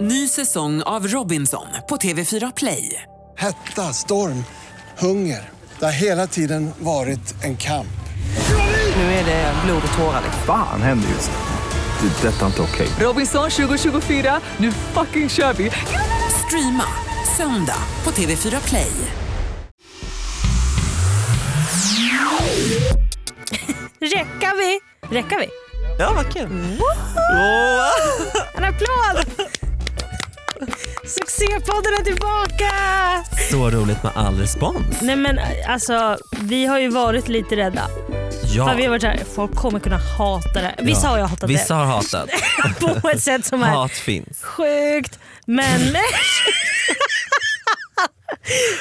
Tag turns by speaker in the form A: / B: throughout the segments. A: Ny säsong av Robinson på TV4 Play.
B: Hetta, storm, hunger. Det har hela tiden varit en kamp.
A: Nu är det blod och tårar.
C: liksom.
D: Fan händer just nu. Det. är Detta är inte okej.
A: Robinson 2024, nu fucking kör vi! Streama söndag på TV4 Play.
E: Räcker vi? Räcker vi?
F: Ja, vad kul. Wow.
E: En applåd! Succépodden är tillbaka!
F: Så roligt med all respons.
E: Nej men alltså, vi har ju varit lite rädda. För
F: Ja.
E: vi har varit såhär, folk kommer kunna hata det. Vissa har ju hatat
F: Vissa har hatat.
E: det på ett sätt som är
F: Hat finns.
E: sjukt. Men,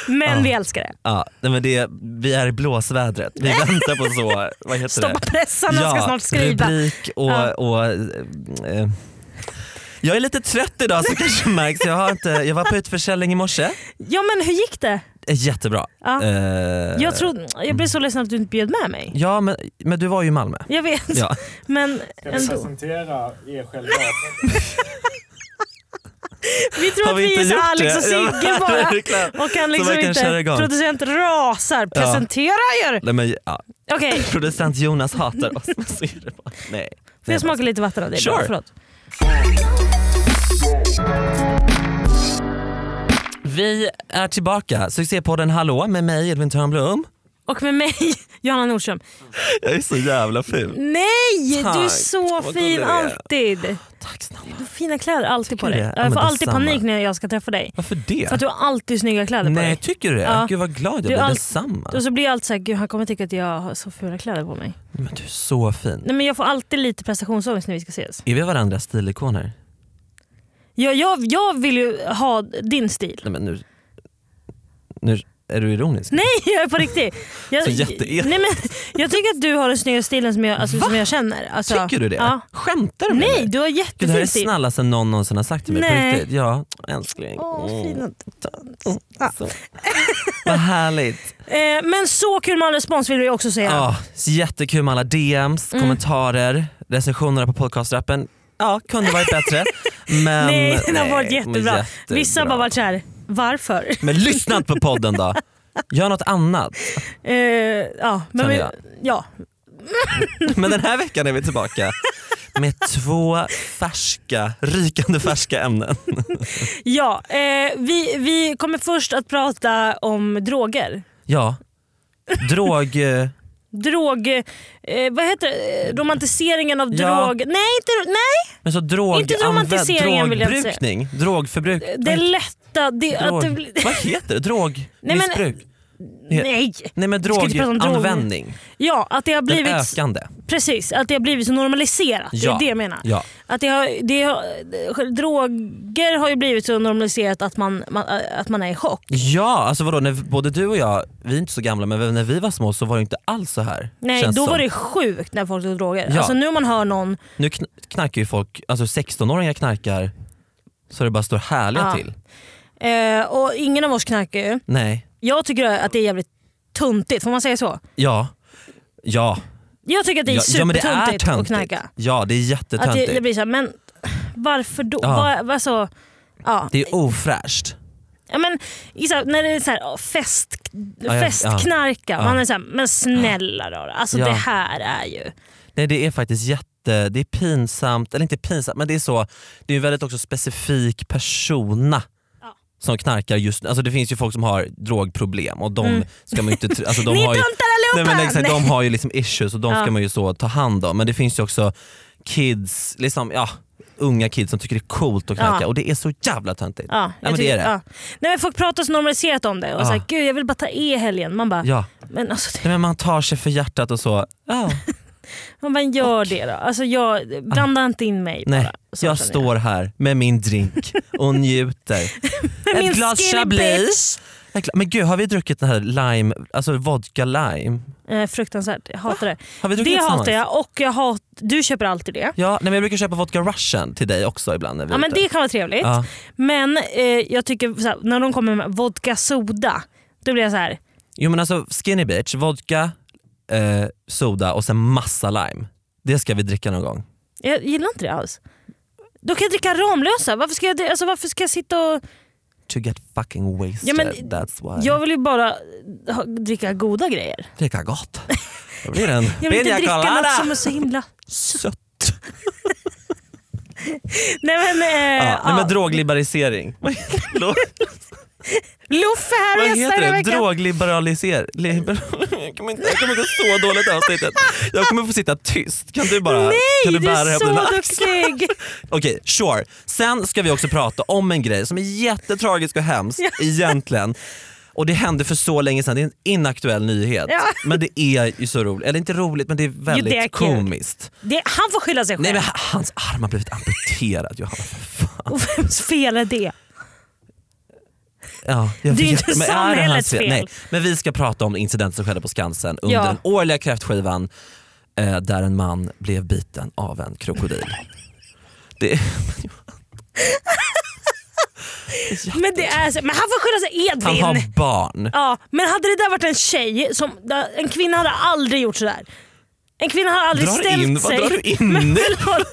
E: men vi älskar det.
F: Ja, nej men det, vi är i blåsvädret. Vi väntar på så, vad heter
E: Stoppa
F: det?
E: pressarna ska snart skriva.
F: Rubrik och,
E: Ja.
F: och eh, jag är lite trött idag så kanske märks. Jag, har inte, jag var på utförsäljning i morse.
E: Ja men hur gick det?
F: Eh, Jättebra.
E: Ja.
F: Eh,
E: Jag, trodde, jag blev så ledsen att du inte bjöd med mig.
F: ja men, men du var ju i Malmö.
E: Jag vet.
F: Ja.
E: Men
G: Ska vi
E: ändå.
G: presentera er själva?
E: Vi tror
F: Har
E: att
F: vi
E: vi
F: inte
E: är så
F: gjort
E: Alex
F: det?
E: och Sigge
F: Ja,
E: bara.
F: verkligen.
E: Och kan
F: Så
E: liksom
F: verkligen köra
E: inte.
F: igång.
E: Producent rasar. Presentera er!
F: Nej, men, ja.
E: Okej,
F: Producent Jonas hatar oss. Men Så är det bara. Nej.
E: får jag smaka lite vatten av det?
F: Sure.
E: Bra, förlåt.
F: Vi är tillbaka, succépodden Hallå med mig Edvin Törnblom.
E: Och med mig, Johanna Nordström.
F: Jag är så jävla ful.
E: Nej! Du är
F: Tack,
E: så
F: vad gullig
E: fin
F: du är.
E: alltid.
F: Tack snälla.
E: Fina kläder alltid på
F: du
E: dig.
F: det? Ja,
E: Jag
F: men
E: får alltid
F: detsamma.
E: panik när jag ska träffa dig.
F: Varför det?
E: För att du har alltid snygga kläder på
F: Nej,
E: dig.
F: tycker du det?
E: Ja.
F: Gud vad glad jag
E: Du är
F: blir.
E: all-
F: Detsamma.
E: Och så blir jag alltid såhär, gud han kommer tycka att jag har så fula kläder på mig.
F: Men du är så fin.
E: Nej men jag får alltid lite prestationsångest när vi ska ses.
F: Är vi varandras stilikoner?
E: Jag, jag, jag vill ju ha din stil.
F: Nej men nu... nu är du ironisk?
E: Nej, jag är på riktigt. Jag,
F: Så jätteelak.
E: nej, men, jag tycker att du har den snygga stilen som jag, alltså, som jag känner. Alltså,
F: Tycker du det?
E: Ja.
F: Skämtar du med
E: Nej,
F: mig?
E: du har
F: Gud, det här är
E: jättefin
F: det
E: stil.
F: snällaste någon någonsin har sagt till mig.
E: Nej.
F: På riktigt. Ja, älskling.
E: Åh,
F: Mm.
E: fina.
F: Så. Vad härligt.
E: Eh, men så kul med all respons vill vi också säga.
F: Ja, så jättekul med alla DMs,
E: Mm.
F: kommentarer, recensioner på podcastappen. Ja, kunde varit bättre. Men,
E: nej, den har varit
F: men
E: jättebra. Vissa har bara varit såhär, varför?
F: Men lyssna inte på podden då. Gör något annat.
E: Eh, ja, men
F: Känner
E: vi,
F: jag.
E: ja.
F: Men den här veckan är vi tillbaka med två färska, rykande färska ämnen.
E: ja eh, vi, vi kommer först att prata om droger.
F: Ja, drog... eh,
E: Drog... Eh, vad heter det? Eh, Romantiseringen av
F: Ja.
E: drog... Nej, inte, nej
F: Men så drog,
E: Inte romantiseringen vill jag inte säga.
F: drogbrukning, drogförbruk.
E: det lätta... Det, att
F: drog,
E: det, blir-
F: Vad heter det?
E: men-
F: Drogmissbruk?
E: nej!
F: Nej men
E: ska inte prata om drog.
F: droganvändning,
E: Ja, att det har
F: den
E: blivit...
F: ökande.
E: Precis, att det har blivit så normaliserat. Det
F: Ja.
E: är det jag menar.
F: Ja.
E: Att det har, det har, droger har ju blivit så normaliserat att man, man, att man är i chock.
F: Ja, alltså vadå, när både du och jag, vi är inte så gamla men när vi var små så var det inte alls så här.
E: Nej,
F: känns
E: då
F: som.
E: var det sjukt när folk tog droger.
F: Ja.
E: Alltså nu om man hör någon...
F: Nu kn- knarkar ju folk, alltså 16-åringar knarkar så det bara står härliga
E: Ja.
F: till.
E: Eh, och ingen av oss knarkar ju.
F: Nej,
E: Jag tycker att det är jävligt tuntigt, får man säga så?
F: ja, ja.
E: Jag tycker att det är
F: ja, ja men det
E: supertuntigt
F: är
E: att
F: töntigt.
E: knarka.
F: Ja det är
E: Att det,
F: jättetöntigt.
E: det blir så här, men varför då?
F: Ja.
E: Vad- alltså- vad så- ja.
F: det är ofräscht.
E: Ja, men, i så här, när det är så här, ja, fest,
F: jag-
E: festknarka,
F: ja.
E: man är så här, men snälla då. Alltså
F: Ja.
E: det här är ju...
F: Nej det är faktiskt jätte, det är pinsamt, eller inte pinsamt men det är så, det är ju väldigt också specifik persona
E: Ja.
F: som knarkar just Alltså det finns ju folk som har drogproblem och de
E: Mm.
F: ska man ju inte, tr- alltså de
E: Ni
F: har ju,
E: tuntar
F: nej,
E: allihopa!
F: men exakt, de har ju liksom issues och de
E: Ja.
F: ska man ju så ta hand om. Men det finns ju också kids, liksom, ja, unga kids som tycker det är coolt att knarka
E: Ja.
F: och det är så jävla töntigt.
E: Ja, jag
F: men det
E: tycker-
F: är det.
E: Ja. Nej, men folk pratar så normaliserat om det och
F: Ja.
E: så här, gud jag vill bara ta E i helgen. Man bara,
F: Ja.
E: men alltså, det-
F: Nej, men man tar sig för hjärtat och så, ja,
E: man bara gör det då. Alltså, jag, blanda inte in mig
F: Ah. nej.
E: bara. Så
F: Jag
E: känner
F: står här med min drink och njuter.
E: Med min skinny
F: Ett gla- Men gud, har vi druckit den här lime, alltså vodka lime?
E: Eh, fruktansvärt, jag hatar det.
F: Har vi druckit
E: Det
F: tillsammans?
E: hatar jag och jag hat, du köper alltid det.
F: Ja, nej, men jag brukar köpa vodka russian till dig också ibland när vi är
E: Ja, men
F: ute.
E: det kan vara trevligt.
F: Ja.
E: Men eh, jag tycker så här, när de kommer med vodka soda, då blir jag så här.
F: Jo men alltså skinny bitch, vodka, eh, soda och sen massa lime. Det ska vi dricka någon gång.
E: Jag gillar inte det alls. Då kan jag dricka Ramlösa. Varför ska jag, dri- alltså, varför ska jag sitta och...
F: To get fucking wasted,
E: Ja, men
F: that's why.
E: Jag vill ju bara ha, dricka goda grejer.
F: Dricka gott. Då blir det en
E: Jag vill inte
F: piña
E: dricka
F: colada.
E: något som Äh, är så himla...
F: Sött.
E: Nej men... Eh,
F: Ja, Ah, nej, men
E: ja.
F: drogliberalisering. Vad
E: Luffe här och gästar den
F: heter
E: här
F: det?
E: veckan.
F: Drogliberalisering. Liber- Jag kommer inte- jag kommer gå så dåligt i avsnittet. Jag kommer få sitta tyst. Kan du bara kan du
E: Nej, du
F: bära det här
E: är
F: på dina
E: så
F: axlar?
E: duktig!
F: Okej, sure. Sen ska vi också prata om en grej som är jättetragisk och hemsk egentligen. Och det hände för så länge sedan, det är en inaktuell nyhet.
E: Ja.
F: Men det är ju så roligt, eller inte roligt men det är väldigt
E: det är kul.
F: komiskt.
E: Det, han får skylla sig själv.
F: Nej men hans arm har blivit amputerad Johanna.
E: Och vems fel är det?
F: Ja, jag
E: Det är ju
F: vet,
E: inte
F: men är det hans
E: samhällets fel.
F: Nej, men vi ska prata om incidenten som skedde på Skansen under
E: Ja.
F: den årliga kräftskivan eh, där en man blev biten av en krokodil. det,
E: Men, det är, så- men han får skylla sig
F: han
E: Edvin.
F: har barn.
E: Ja, men hade det där varit en tjej, som, en kvinna hade aldrig gjort sådär. En kvinna hade aldrig
F: Drar
E: ställt
F: in, vad
E: sig.
F: drar du in nu?
E: Förlåt.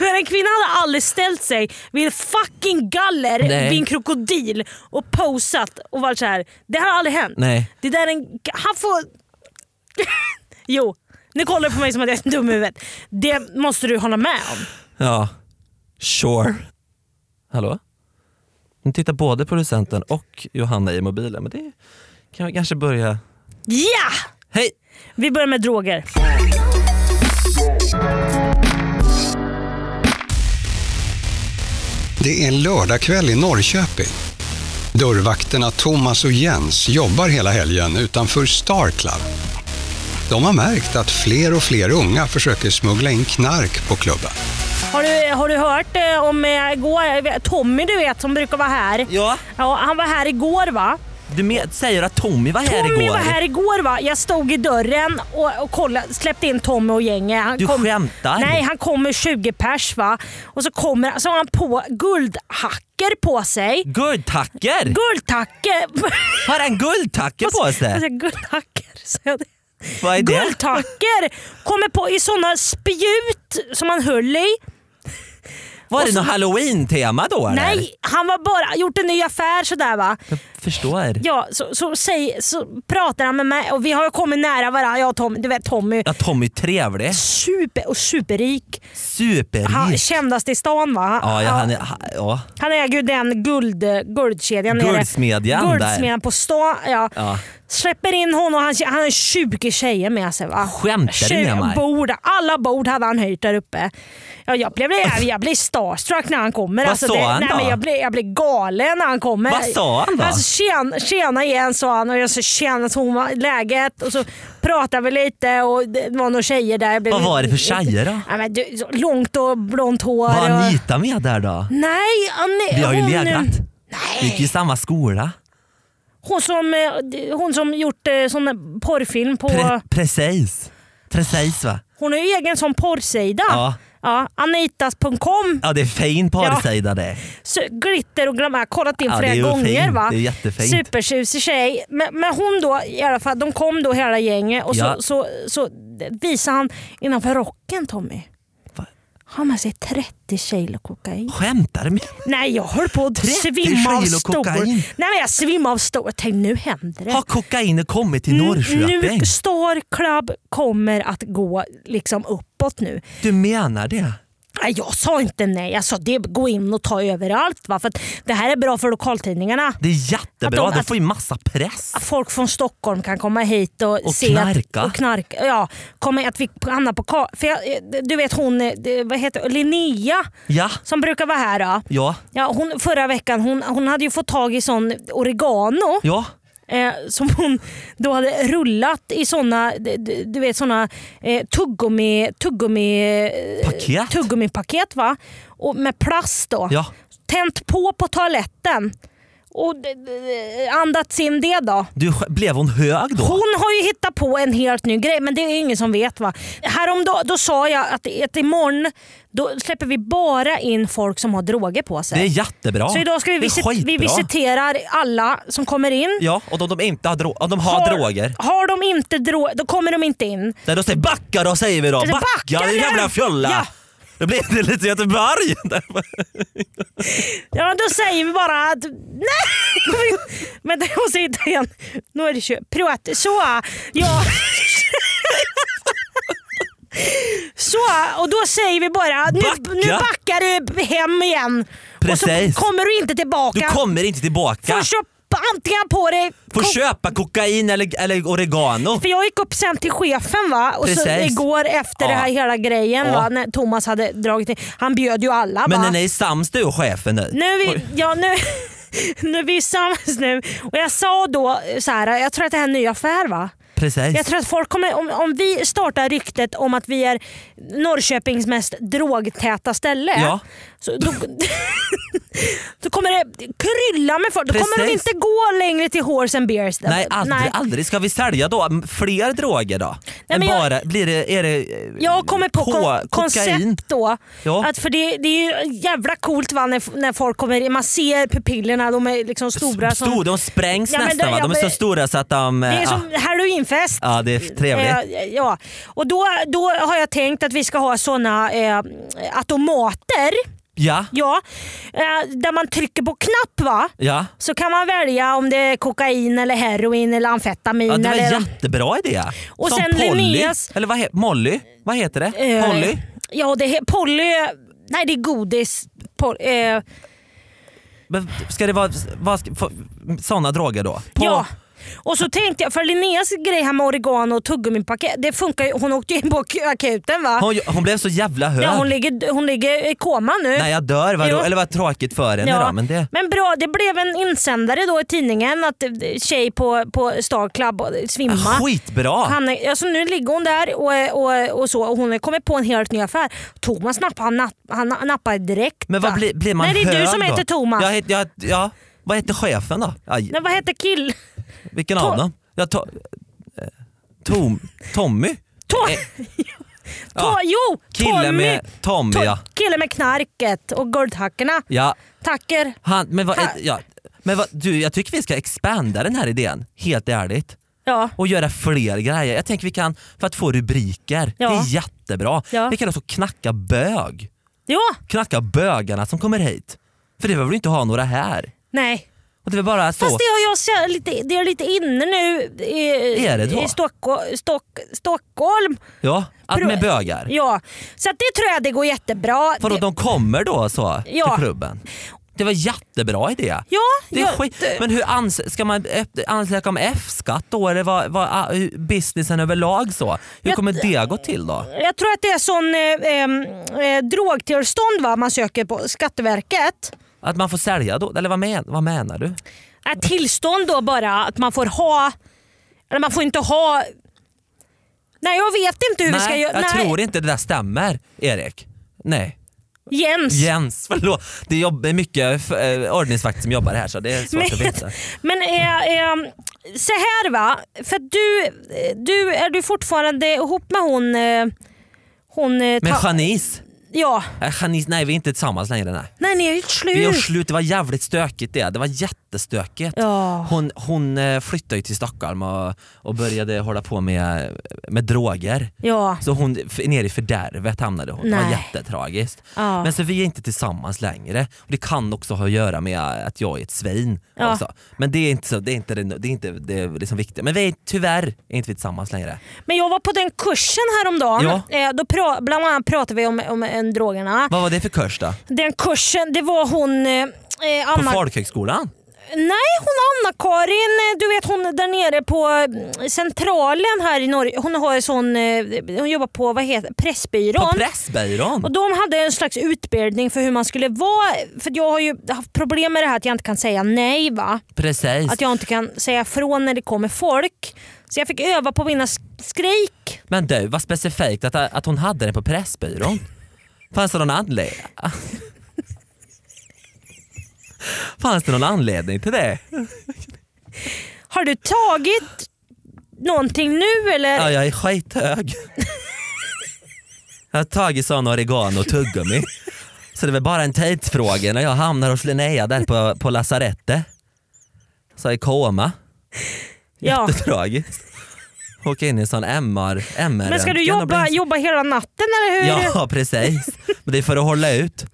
E: Men en kvinna hade aldrig ställt sig vid en fucking galler
F: Nej.
E: vid en krokodil och posat och varit så här. Det har aldrig hänt.
F: Nej.
E: Det där är en... Han får... jo, nu kollar du på mig som att jag är dum i huvudet. Det måste du hålla med om.
F: Ja, sure. Hallå? Nu tittar både producenten och Johanna i mobilen, men det kan vi kanske börja...
E: Ja!
F: Hej!
E: Vi börjar med droger.
G: Det är en lördagkväll i Norrköping. Dörrvakterna Thomas och Jens jobbar hela helgen utanför Star Club. De har märkt att fler och fler unga försöker smuggla in knark på klubben.
E: Har du, har du hört eh, om eh, igår, jag vet- Tommy du vet som brukar vara här.
F: Ja,
E: Ja, han var här igår va?
F: du med, säger att Tommy var här
E: Tommy
F: igår?
E: var här igår va? Jag stod i dörren och, och kollade, släppte in Tommy och gänget. Han
F: Du
E: kom,
F: skämtar?
E: Nej, han kommer 20 pers va? Och så, kommer, så har han på guldhacker på
F: Mm.
E: sig.
F: Guldtacker!
E: Guldtacke!
F: har han guldtacker på
E: Jag sa
F: sig?
E: guldhacker. sa jag det.
F: Vad är det?
E: Guldtacker! Kommer på i sådana spjut som han höll i.
F: Var
E: Och
F: det
E: så-
F: något halloween-tema då? eller?
E: Nej, han var bara gjort en ny affär sådär va.
F: Jag förstår.
E: Ja, så, så, säg, så pratar han med mig och vi har ju kommit nära varandra jag och Tommy. Du vet Tommy,
F: Ja, Tommy är trevlig.
E: super och superrik. Han,
F: Superrik.
E: kändast i stan va?
F: Ja, ja, han är... ha- Ja.
E: han äger ju den guld, guldkedjan nere.
F: Guldsmedjan där.
E: Guldsmedjan på stan. Ja.
F: Ja.
E: Släpper in honom, han, han har 20 tjejer med sig va?
F: Skämtar du med
E: 20
F: mig?
E: Bord, alla bord hade han höjt där uppe. Ja, jag, blev, jag blev starstruck när han kommer. Alltså,
F: Vad sa
E: det,
F: han
E: nej,
F: då?
E: Men jag, blev, jag blev galen när han kommer.
F: Vad sa han då?
E: Alltså, tjena, tjena igen sa han och jag sa tjena Toma, läget? Och så pratade vi lite och det var några tjejer där. Jag blev,
F: Vad var det för tjejer då?
E: Ja, men, du, så långt och blont hår.
F: Var
E: och-
F: Anita med där då?
E: Nej, Anne,
F: Vi har ju
E: hon,
F: legat. Vi gick
E: Nej,
F: i samma skola.
E: hon som, eh, hon som gjort eh, sån porrfilm på...
F: Pre- precis. Precis va?
E: Hon har ju egen sån porrsida.
F: Ja.
E: Ja, Anitas.com.
F: Ja det är fin porrsida det.
E: Så- Glitter och glamour. Kollat in
F: Ja,
E: flera
F: det är ju
E: gånger
F: fint.
E: va.
F: Det är jättefint.
E: Supertjusig tjej. Men, men hon då i alla fall, de kom då hela gänget och
F: Ja.
E: så, så, så visade han innanför rocken Tommy.
F: Va?
E: Har man sig 30 kilo kokain?
F: Skämtar du med
E: Nej jag höll på att
F: 30
E: svimma av
F: kilo
E: stor.
F: kokain.
E: Nej men jag svimmade av stor. Jag tänkte nu händer det.
F: Har kokainet kommit till
E: Nu
F: Norrköping?
E: Star Club kommer att gå liksom uppåt nu.
F: Du menar det?
E: Nej, Jag sa inte nej. Jag sa det, gå in och ta överallt. Va? För att det här är bra för lokaltidningarna.
F: Det är jättebra,
E: Att de-
F: de får ju massa press.
E: Att folk från Stockholm kan komma hit och,
F: Och
E: se
F: knarka.
E: Att, och knarka. Ja, komma, att vi hamnar på ka- för jag, Du vet hon, eh, det- vad heter Linnea
F: Ja,
E: som brukar vara här. Då.
F: ja,
E: Ja, hon, förra veckan hon, hon hade ju fått tag i sån oregano
F: ja.
E: eh, som hon då hade rullat i såna, d- d- du vet, såna eh, tuggummi, tuggummi, eh,
F: Paket.
E: tuggummipaket va? Och med plast då.
F: Ja.
E: Tänt på på toaletten och d- d- andats in det då.
F: Du, sk- blev hon hög då?
E: Hon har ju hittat på en helt ny grej men det är ingen som vet. va. Häromdagen då sa jag att, att imorgon då släpper vi bara in folk som har droger på sig.
F: Det är jättebra.
E: så idag ska vi,
F: Det är
E: visit- vi
F: skitbra.
E: visiterar alla som kommer in.
F: Ja, och om de, inte har, dro- om de har, droger,
E: Har de inte droger, då kommer de inte in.
F: nej, då säger backa då säger vi då.
E: Alltså,
F: Backa,
E: backa
F: din
E: nu!
F: jävla fjolla!
E: Ja.
F: Då blev det lite Göteborg.
E: Ja, då säger vi bara att nej! Men det måste jag hitta igen. Nu är det kö. Pruat. Så, ja. Så, och då säger vi bara nu,
F: Backa.
E: nu backar du hem igen.
F: Precis.
E: Och så kommer du inte
F: Du
E: tillbaka.
F: kommer inte tillbaka.
E: Får köpa antingen på dig
F: Får
E: ko-
F: köpa kokain eller, eller oregano.
E: För jag gick upp sen till chefen va och så
F: Precis.
E: igår efter
F: Ja.
E: det här hela grejen
F: Ja.
E: va, när Thomas hade dragit in. Han bjöd ju alla
F: Men
E: va.
F: när ni är sams du och chefen nu.
E: Nu är vi,
F: Oj.
E: ja, nu, nu är vi sams nu och jag sa då så här, jag tror att det här är en ny affär va?
F: Precis.
E: Jag tror att folk kommer, om, om vi startar ryktet om att vi är Norrköpings mest drogtäta ställe.
F: Ja.
E: Så då, då kommer det krylla med folk. Då kommer de
F: Precis.
E: inte gå längre till Horse and Beers.
F: Nej aldrig,
E: Nej.
F: aldrig. Ska vi sälja då m- fler droger då? Än
E: men jag-
F: bara, blir det, är det eh,
E: Jag kommer på
F: ko-
E: kon-
F: kokain?
E: koncept då.
F: Ja.
E: Att för det, det är ju jävla coolt va, när, när folk kommer in. Man ser pupillerna, de är liksom stora. som-
F: Stor, de sprängs
E: Ja, men
F: nästan
E: det-
F: va? De är
E: ja,
F: så
E: men-
F: stora så att de... eh,
E: Det är
F: ja.
E: som halloweenfest.
F: ja det är trevligt.
E: Eh, ja. Och då, då har jag tänkt att vi ska ha såna eh, automater.
F: ja.
E: Ja, eh, där man trycker på knapp va?
F: Ja.
E: Så kan man välja om det är kokain, eller heroin eller amfetamin.
F: Ja, det var
E: eller...
F: en jättebra idé.
E: Och
F: Som
E: sen
F: Polly,
E: Linneas-
F: eller vad he- Molly? Vad heter det?
E: Eh,
F: Polly?
E: Ja, det är Polly... Nej, det är godis. Pol, eh,
F: Men Ska det vara vad ska, få- såna droger då? På-
E: Ja. Och så tänkte jag, för Linneas grej här med oregano och tuggummipaket, det funkar ju. Hon åkte ju in på ak- akuten va?
F: Hon, hon blev så jävla hög.
E: ja, hon, ligger, hon ligger i koma nu.
F: Nej jag dör, vad,
E: Jo.
F: ro- eller vad tråkigt för henne
E: Ja,
F: då. Men det,
E: men bra, det blev en insändare då i tidningen att eh, tjej på, på Star Club eh, svimmar.
F: Ah, skitbra!
E: Han, är- alltså nu ligger hon där och, och, och så och hon har kommit på en helt ny affär. Thomas nappar, han, napp, han nappar direkt.
F: Men vad
E: va?
F: blir, blir man
E: Nej, det är
F: hög
E: du som
F: då?
E: heter Thomas.
F: Jag het, jag, ja. Vad heter chefen då? Aj,
E: Nej, vad heter kill?
F: vilken
E: To-
F: av dem? Jag to, eh, Tom, Tommy? Eh.
E: To- to-
F: Ja.
E: Jo!
F: Kille
E: Tommy.
F: med Tommy
E: To-
F: ja.
E: Kille med knarket och guldhackorna.
F: ja.
E: Tacker.
F: Han, men vad,
E: Här.
F: ja. Men vad, du, jag tycker vi ska expandera den här idén, helt ärligt.
E: Ja.
F: och göra fler grejer. Jag tänker vi kan, för att få rubriker,
E: Ja.
F: det är jättebra.
E: Ja.
F: Vi kan också knacka bög.
E: Ja.
F: Knacka bögarna som kommer hit. För det behöver du inte ha några här.
E: Nej.
F: Och det är bara så.
E: Fast det har jag sett lite, det är lite inne nu i,
F: Är det då?
E: i Stocko- Stock, Stockholm.
F: Ja, att
E: Pro-
F: med bögar.
E: Ja, så att det tror jag det går jättebra.
F: Vadå,
E: Det-
F: de kommer då så
E: Ja.
F: till klubben? Det var jättebra idé.
E: Ja,
F: Det är
E: ja,
F: skit.
E: det-
F: Men hur ans- ska man öpp- ansöka om F-skatt då? Eller vad, vad, ah, hur- businessen överlag så? Hur
E: Jag-
F: kommer det gå till då?
E: Jag tror att det är sån eh, eh, eh, drogtillstånd va, man söker på Skatteverket.
F: Att man får sälja då? Eller vad, men- vad menar du?
E: Äh, tillstånd då bara att man får ha, eller man får inte ha Nej jag vet inte hur
F: Nej,
E: vi ska göra.
F: jag tror inte det där stämmer Erik. Nej.
E: Jens.
F: Jens, förlåt. Det jobbar mycket eh, ordningsvakter som jobbar här så det är svårt att veta.
E: men eh, eh, så här va, för att du, eh, du är du fortfarande ihop med hon... Eh, hon eh,
F: Men
E: ta-
F: Janice,
E: Ja,
F: eh, Janice, nej vi är inte tillsammans längre. Nej.
E: nej ni är ju slut.
F: Vi gör slut, det var jävligt stökigt det. Det var jättestökigt.
E: Ja.
F: Hon, hon eh, flyttade ju till Stockholm och, och började hålla på med, med droger.
E: Ja.
F: Så hon f- ner i fördärvet hamnade hon. Det var
E: Nej.
F: jättetragiskt.
E: Ja.
F: Men så vi är inte tillsammans längre. Och det kan också ha att göra med att jag är ett svin.
E: Ja.
F: Också. Men det är inte, så, det är inte, det, det är inte det liksom viktiga. Men vi är, tyvärr är inte vi tillsammans längre.
E: Men jag var på den kursen häromdagen.
F: Ja.
E: Eh, då pra- bland annat pratade vi om, om en drogerna.
F: Vad var det för kurs då?
E: Den kursen, det var hon eh, eh,
F: På
E: Anna...
F: folkhögskolan?
E: Nej, hon Anna-Karin, eh, du vet hon där nere på eh, Centralen här i Norge. Hon har en sån, eh, hon jobbar på vad heter Pressbyrån.
F: På Pressbyrån?
E: Och de hade en slags utbildning för hur man skulle vara. För jag har ju haft problem med det här att jag inte kan säga nej. va
F: Precis.
E: Att jag inte kan säga från när det kommer folk. Så jag fick öva på mina sk- skrik.
F: Men du, vad specifikt att, att hon hade den på Pressbyrån. Fanns det någon anledning? Fanns det någon anledning till det?
E: Har du tagit någonting nu eller?
F: Ja, jag är skithög. Jag har tagit sån oregano och tuggummi. Så det är väl bara en tidsfråga när jag hamnar hos Linnea där på, på lasarettet. Så jag är i koma.
E: Ja.
F: Jättetragiskt. Åka in i en sån MR, MR
E: Men ska du jobba, jobba hela natten eller hur?
F: Ja precis, men det är för att hålla ut.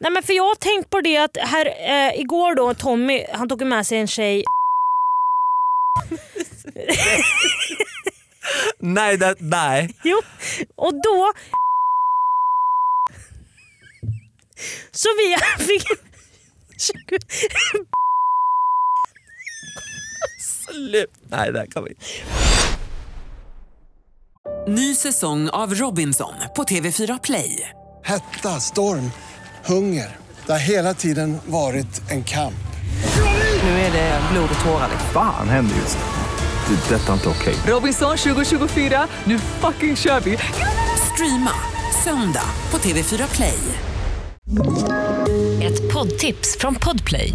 E: Nej, men för jag har tänkt på det att här, eh, igår då Tommy han tog med sig en tjej.
F: Nej, det, nej.
E: Jo. Och då... Så vi fick...
F: Slut. Nej, där kan vi.
A: Ny säsong av Robinson på TV4 Play.
B: Hetta, storm, hunger. Det har hela tiden varit en kamp.
A: Nu är det blod och tårar.
D: Fan händer just nu. Det. är Detta är inte okej.
A: Robinson 2024, nu fucking kör vi! Streama söndag på TV4 Play.
H: Ett poddtips från Podplay.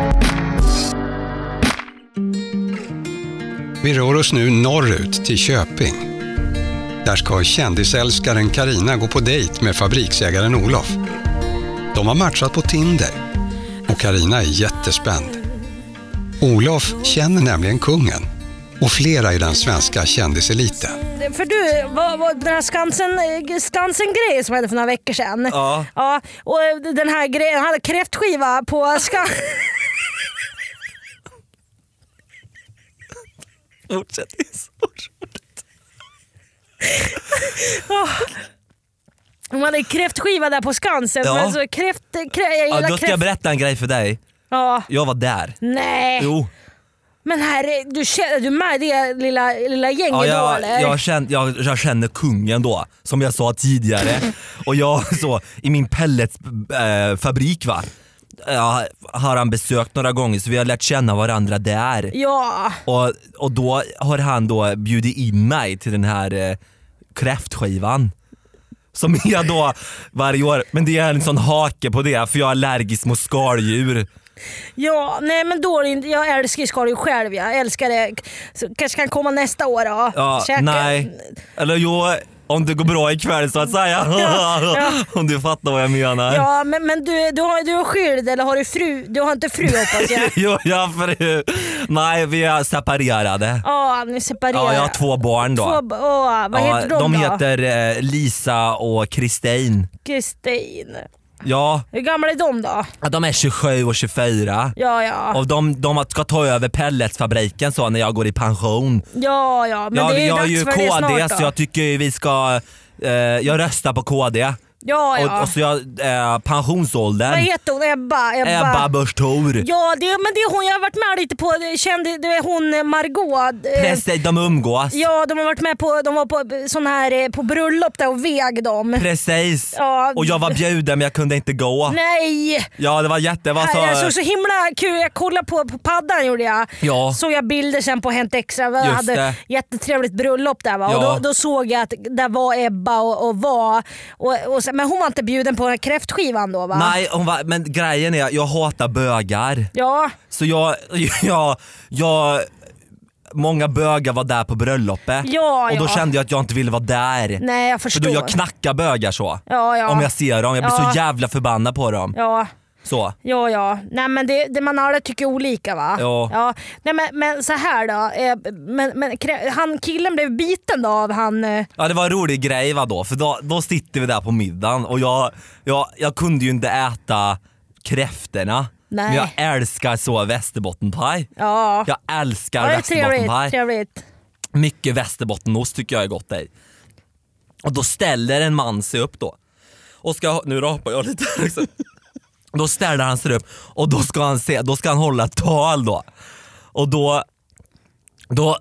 G: Vi rör oss nu norrut till Köping. Där ska kändisälskaren Karina gå på dejt med fabriksägaren Olof. De har matchat på Tinder och Karina är jättespänd. Olof känner nämligen kungen och flera i den svenska kändiseliten.
E: För du, vad, vad, den här Skansen, eh, Skansen-grejen som hände för några veckor sedan.
F: Ja.
E: ja och eh, den här grejen, han hade kräftskiva på Skansen.
F: Fortsätt.
E: De hade kräftskiva där på Skansen.
F: Ja.
E: Men så kräft, eh, krä, jag
F: Ja,
E: gillar
F: då ska
E: kräft...
F: jag berätta en grej för dig.
E: ja.
F: Jag var där.
E: Nej,
F: Jo.
E: men herre, du, känner, du med det lilla, lilla gänget
F: Ja,
E: då
F: jag,
E: eller?
F: jag, känner, jag, jag känner kungen då, som jag sa tidigare. Och jag så, i min pelletsfabrik va, ja, har han besökt några gånger så vi har lärt känna varandra där.
E: Ja,
F: Och, och då har han då bjudit in mig till den här eh, kräftskivan. Som jag då varje år, men det är en sån hake på det för jag är allergisk mot skaldjur.
E: ja, nej men då är det inte- jag älskar ju skaldjur själv. Jag älskar det. Så, kanske kan komma nästa år då.
F: Ja,
E: Käka-
F: nej. Eller jo, om det går bra ikväll så att säga.
E: ja.
F: Om du fattar vad jag menar.
E: Ja, men, men du, du, har, du är skild eller har du fru? Du har inte fru hoppas jag.
F: Jo, jag fru. Nej, vi är separerade.
E: Ja, ni separerar.
F: Ja, jag har två barn då.
E: Två, ba- åh, vad
F: ja,
E: heter de,
F: de
E: då?
F: heter eh, Lisa och Kristin.
E: Kristin.
F: Ja,
E: Hur gamla är de då?
F: de är 27 och 24.
E: Ja, ja.
F: Och de, de ska ta över pelletsfabriken så när jag går i pension.
E: Ja, ja. Men
F: ja,
E: det är ju
F: jag är
E: dags
F: ju
E: för det
F: KD
E: snart
F: så
E: då.
F: jag tycker ju vi ska... Eh, jag röstar på KD.
E: Ja, ja.
F: Och, och så jag, eh, pensionsåldern.
E: Vad heter hon? Ebba? Ebba.
F: Ebba Busch Thor.
E: Ja, det, men det är hon jag har varit med lite på. Kände, det är hon eh, Margot. eh,
F: Precis, de umgås.
E: Ja, de har varit med på, de var på, sån här, eh, på bröllop där och veg dem.
F: Precis.
E: Ja.
F: Och jag var bjuden men jag kunde inte gå.
E: Nej!
F: Ja det var jätte... Det var
E: Alltså, jag såg
F: så,
E: så himla kul Jag kollade på, på paddan gjorde jag.
F: Ja.
E: Såg jag bilder sen på Hänt Extra. Vi
F: Just
E: hade
F: det.
E: jättetrevligt bröllop där. Va? Och
F: Ja.
E: då, då såg jag att där var Ebba och, och var. Och, och sen, men hon var inte bjuden på den här kräftskivan då va?
F: nej, hon var, men grejen är jag hatar bögar.
E: Ja.
F: Så jag, jag, jag, många bögar var där på bröllopet
E: Ja,
F: och då
E: ja.
F: kände jag att jag inte ville vara där.
E: Nej jag
F: För
E: förstår.
F: då jag knackar bögar så.
E: Ja, ja.
F: Om jag ser dem. Jag blir
E: Ja.
F: så jävla förbannad på dem.
E: Ja.
F: Så.
E: Ja, ja. Nej, men det, det man alla tycker olika va?
F: Ja.
E: Nej, men, men så här då. Eh, Men, men, krä- han killen blev biten då av han... eh,
F: Ja det var en rolig grej va då, för då, då sitter vi där på middagen och jag, jag, jag kunde ju inte äta kräftorna.
E: Nej.
F: Men jag älskar så västerbottenpaj.
E: Ja.
F: Jag älskar
E: Ja, det är trevligt.
F: västerbottenpaj.
E: trevligt.
F: Mycket västerbottenost tycker jag är gott i. Och då ställer en man sig upp då. Och ska, nu rapar jag lite här också. Då ställer han sig upp och då ska han, se, då ska han hålla ett tal då. Och då, då,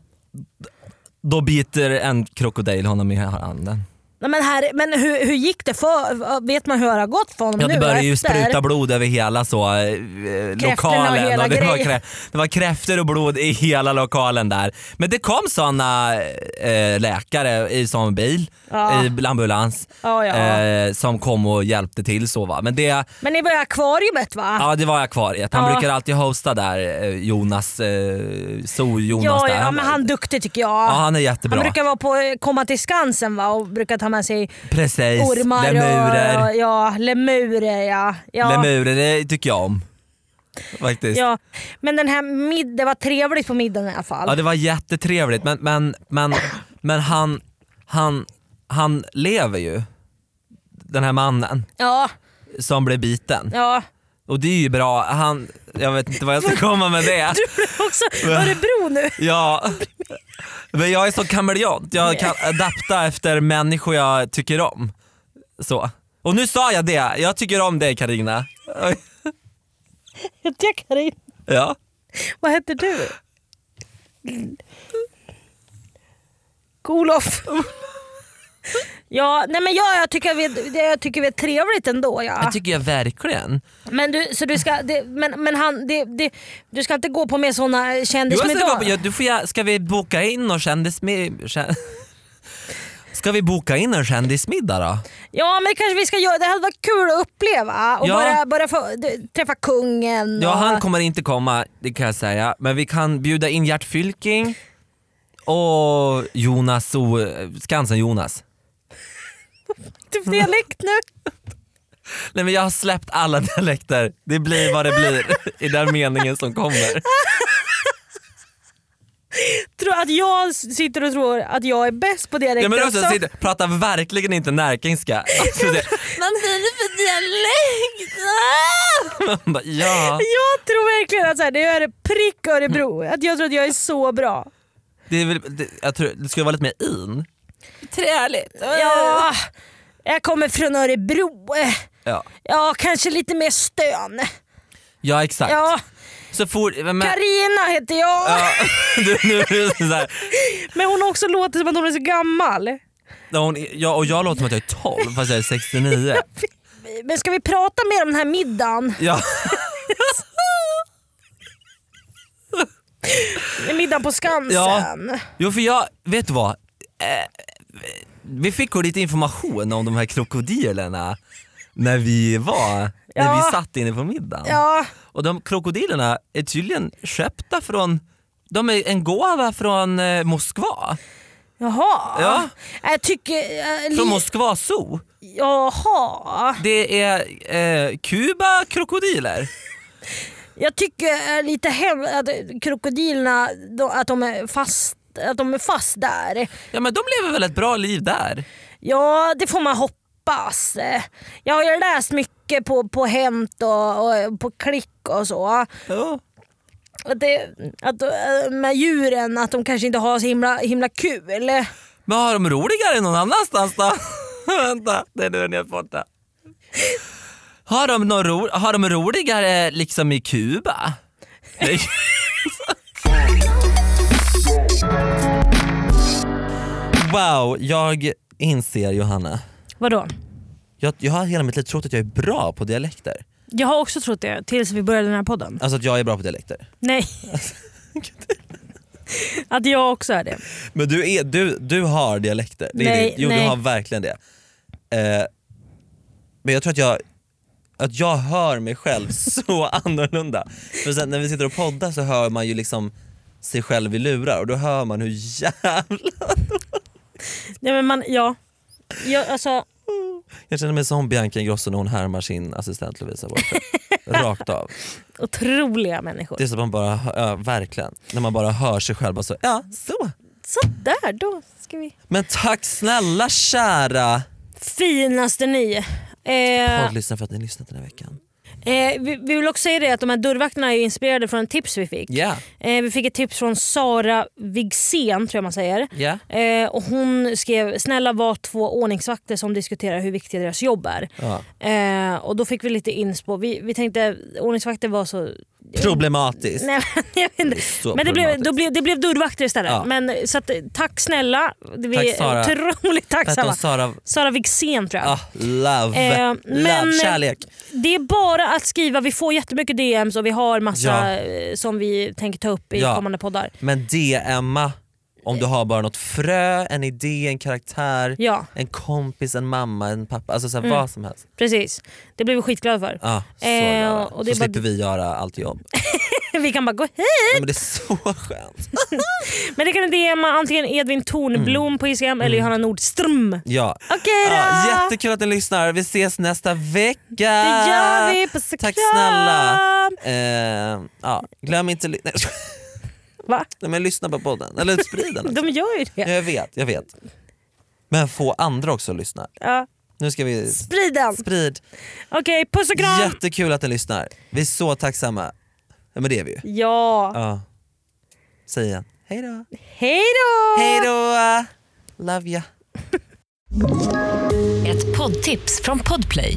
F: då biter en krokodil honom i handen.
E: Nej, men här, men hur, hur gick det? För, vet man hur det har gått för honom
F: Ja,
E: nu?
F: det började ju
E: efter?
F: spruta blod över hela så, eh, lokalen.
E: hela
F: det, var
E: grejen.
F: krä, det var kräfter och blod i hela lokalen där. Men det kom såna eh, läkare i sån bil,
E: Ja.
F: i ambulans,
E: Ja, ja.
F: Eh, som kom och hjälpte till. så va. Men det,
E: Men ni var i akvariet va?
F: ja, det var akvariet. Han
E: Ja.
F: brukar alltid hosta där, eh, Jonas, eh, Sol-Jonas.
E: ja,
F: där.
E: ja, men han är duktig tycker jag.
F: ja, han är jättebra.
E: Han brukar vara på, eh, komma till Skansen va? och brukar ta med sig
F: Precis,
E: ormar
F: lemurer.
E: och, och ja, lemurer. Ja. Ja,
F: Lemurer det tycker jag om. Faktiskt.
E: ja. Men den här middagen, det var trevligt på middagen i alla fall.
F: Ja det var jättetrevligt men, men, men, men han, han, han lever ju. Den här mannen
E: ja,
F: som blev biten.
E: ja.
F: Och det är ju bra. Han, jag vet inte vad jag ska komma med det.
E: Du blev också Örebro nu.
F: Ja. Men jag är så kameleont. Jag kan adapta efter människor jag tycker om. Så. Och nu sa jag det. Jag tycker om dig Karina.
E: Hette jag Karin?
F: Ja.
E: Vad heter du? Olof. Ja, nej men jag, jag, tycker vi, det- jag tycker vi är trevligt ändå. Ja.
F: Det tycker jag verkligen.
E: Men, du, så du, ska, det, men, men han, det, det, du ska inte gå på med såna
F: Du,
E: kändismiddagar?
F: ska, gå på- ja, du får, ja, ska vi boka in och kändis... mi- kä- Ska vi boka in en kändismiddag då?
E: Ja men det kanske vi ska göra. Det hade varit kul att uppleva och
F: Ja.
E: bara, bara få d- träffa kungen.
F: Ja,
E: och,
F: han kommer inte komma, det kan jag säga. Men vi kan bjuda in Gert Fylking och Jonas och Skansen-Jonas.
E: Typ dialekt nu.
F: Nej men jag har släppt alla dialekter. Det blir vad det blir i den meningen som kommer.
E: Tror att jag sitter och tror att jag är bäst på dialekter
F: Ja, men också,
E: också.
F: sitter, pratar verkligen inte närkingska. Alltså, det,
E: Man säger för dialekt.
F: man bara, ja, Mm.
E: Jag tror verkligen att så här, det är prick Örebro. Att jag tror att jag är så bra.
F: det, är väl, det, jag tror, det skulle vara lite mer in. Träligt.
E: Ja, jag kommer från Örebro.
F: Ja,
E: Ja, kanske lite mer stön.
F: ja exakt.
E: Ja,
F: Så fort, men,
E: Karina heter jag.
F: Ja, du, nu är det så här.
E: Men hon har också låtit som att hon är så gammal.
F: När Hon, ja, och jag låter som att jag är 12 fast jag är 69.
E: Men ska vi prata mer om den här middagen?
F: Ja,
E: Middagen på Skansen.
F: ja. Jo för jag, vet du vad? Eh, vi fick ju lite information om de här krokodilerna när vi var, när
E: Ja.
F: vi satt inne på middagen.
E: Ja.
F: Och de krokodilerna är tydligen köpta från, de är en gåva från eh, Moskva.
E: Jaha.
F: Ja.
E: Jag tycker... eh,
F: Från
E: li-
F: Moskva Zoo.
E: Jaha.
F: Det är eh, Kuba krokodiler.
E: Jag tycker eh, lite hemskt att krokodilerna, då- att de är fast att de är fast där.
F: Ja men de lever väl ett bra liv där?
E: Ja, det får man hoppas. Eh, Jag har ju läst mycket på, på Hämt och, och på Klick och så.
F: Ja.
E: Att det, att, eh, med djuren, att de kanske inte har så himla, himla kul.
F: Men har de roligare någon annanstans då? Vänta, det är nu den är borta. Har de, någon ro, har de roligare liksom i Kuba? Nej. wow, jag inser Johanna.
E: Vadå?
F: Jag, jag har hela mitt liv trott att jag är bra på dialekter.
E: Jag har också trott det tills vi började den här podden.
F: Alltså att jag är bra på dialekter.
E: Nej. att jag också är det.
F: Men du, är, du, du har dialekter. Det är
E: Nej,
F: det. Jo
E: nej.
F: du har verkligen det. Eh, men jag tror att jag, att jag hör mig själv så annorlunda. För sen när vi sitter och poddar så hör man ju liksom sig själv i lurar och då hör man hur jävla...
E: Nej, men man, ja. Jag, alltså,
F: Jag känner mig som Bianca Ingrosso när hon härmar sin assistent Lovisa Wolfe. Rakt av.
E: otroliga människor.
F: Det är så att man bara, hör- ja, verkligen. När man bara hör sig själv bara så, ja så.
E: Så där då ska vi...
F: Men tack snälla kära
E: Finaste ni. Eh,
F: poddlyssnare för att ni har lyssnat den här veckan.
E: eh, vi, vi vill också säga det att de här dörrvakterna är ju inspirerade från ett tips vi fick.
F: Ja,
E: Eh, vi fick ett tips från Sara Wigsén tror jag man säger.
F: ja.
E: Eh, och hon skrev “Snälla var två ordningsvakter som diskuterar hur viktiga deras jobb är”.
F: Ja.
E: Eh, och då fick vi lite inspo. Vi, vi tänkte ordningsvakter var så
F: Problematiskt.
E: Nej, jag vet inte.
F: Så
E: Men det blev,
F: problematiskt.
E: då blev, det blev dörrvakter istället.
F: Ja.
E: Men, så att, tack snälla. Vi
F: Tack,
E: är
F: Sara.
E: otroligt
F: Vad hette hon?
E: tacksamma.
F: Sara...
E: Sara Wikzén tror jag.
F: Ah, love.
E: Eh, men-
F: love. Kärlek.
E: Det är bara att skriva. Vi får jättemycket DMs och vi har massa
F: Ja.
E: eh, som vi tänker ta upp i
F: Ja.
E: kommande poddar.
F: Men DMa om du har bara något frö, en idé, en karaktär,
E: Ja,
F: en kompis, en mamma, en pappa. Alltså så här, vad som helst.
E: precis. Det blev vi skitglada för.
F: Ah, så
E: Eh,
F: eh,
E: och
F: och
E: det är
F: så
E: bara-
F: slipper vi göra allt jobb.
E: Vi kan bara gå hej.
F: Nej, men det är så skönt.
E: Men det kan ni DMa antingen Edvin Tornblom på Instagram eller Johanna Nordström.
F: Mm. Ja.
E: Okej då!
F: Ah, jättekul att ni lyssnar. Vi ses nästa vecka.
E: det gör vi. Puss och
F: Tack
E: kram.
F: snälla. Eh, ja, glöm inte... ly- Nej,
E: Va?
F: Nej, men lyssna på podden. Eller sprid den.
E: De gör ju det.
F: Ja, Jag vet, jag vet. Men få andra också att lyssna.
E: Ja.
F: Nu ska vi...
E: Sprid den.
F: Sprid.
E: Okej, puss och kram.
F: Jättekul att ni lyssnar. Vi är så tacksamma. Ja, men det är vi ju.
E: Ja.
F: Ja. Säg igen. Hej då.
E: Hej då!
F: Hej då. Love ya.
H: Ett poddtips från Podplay.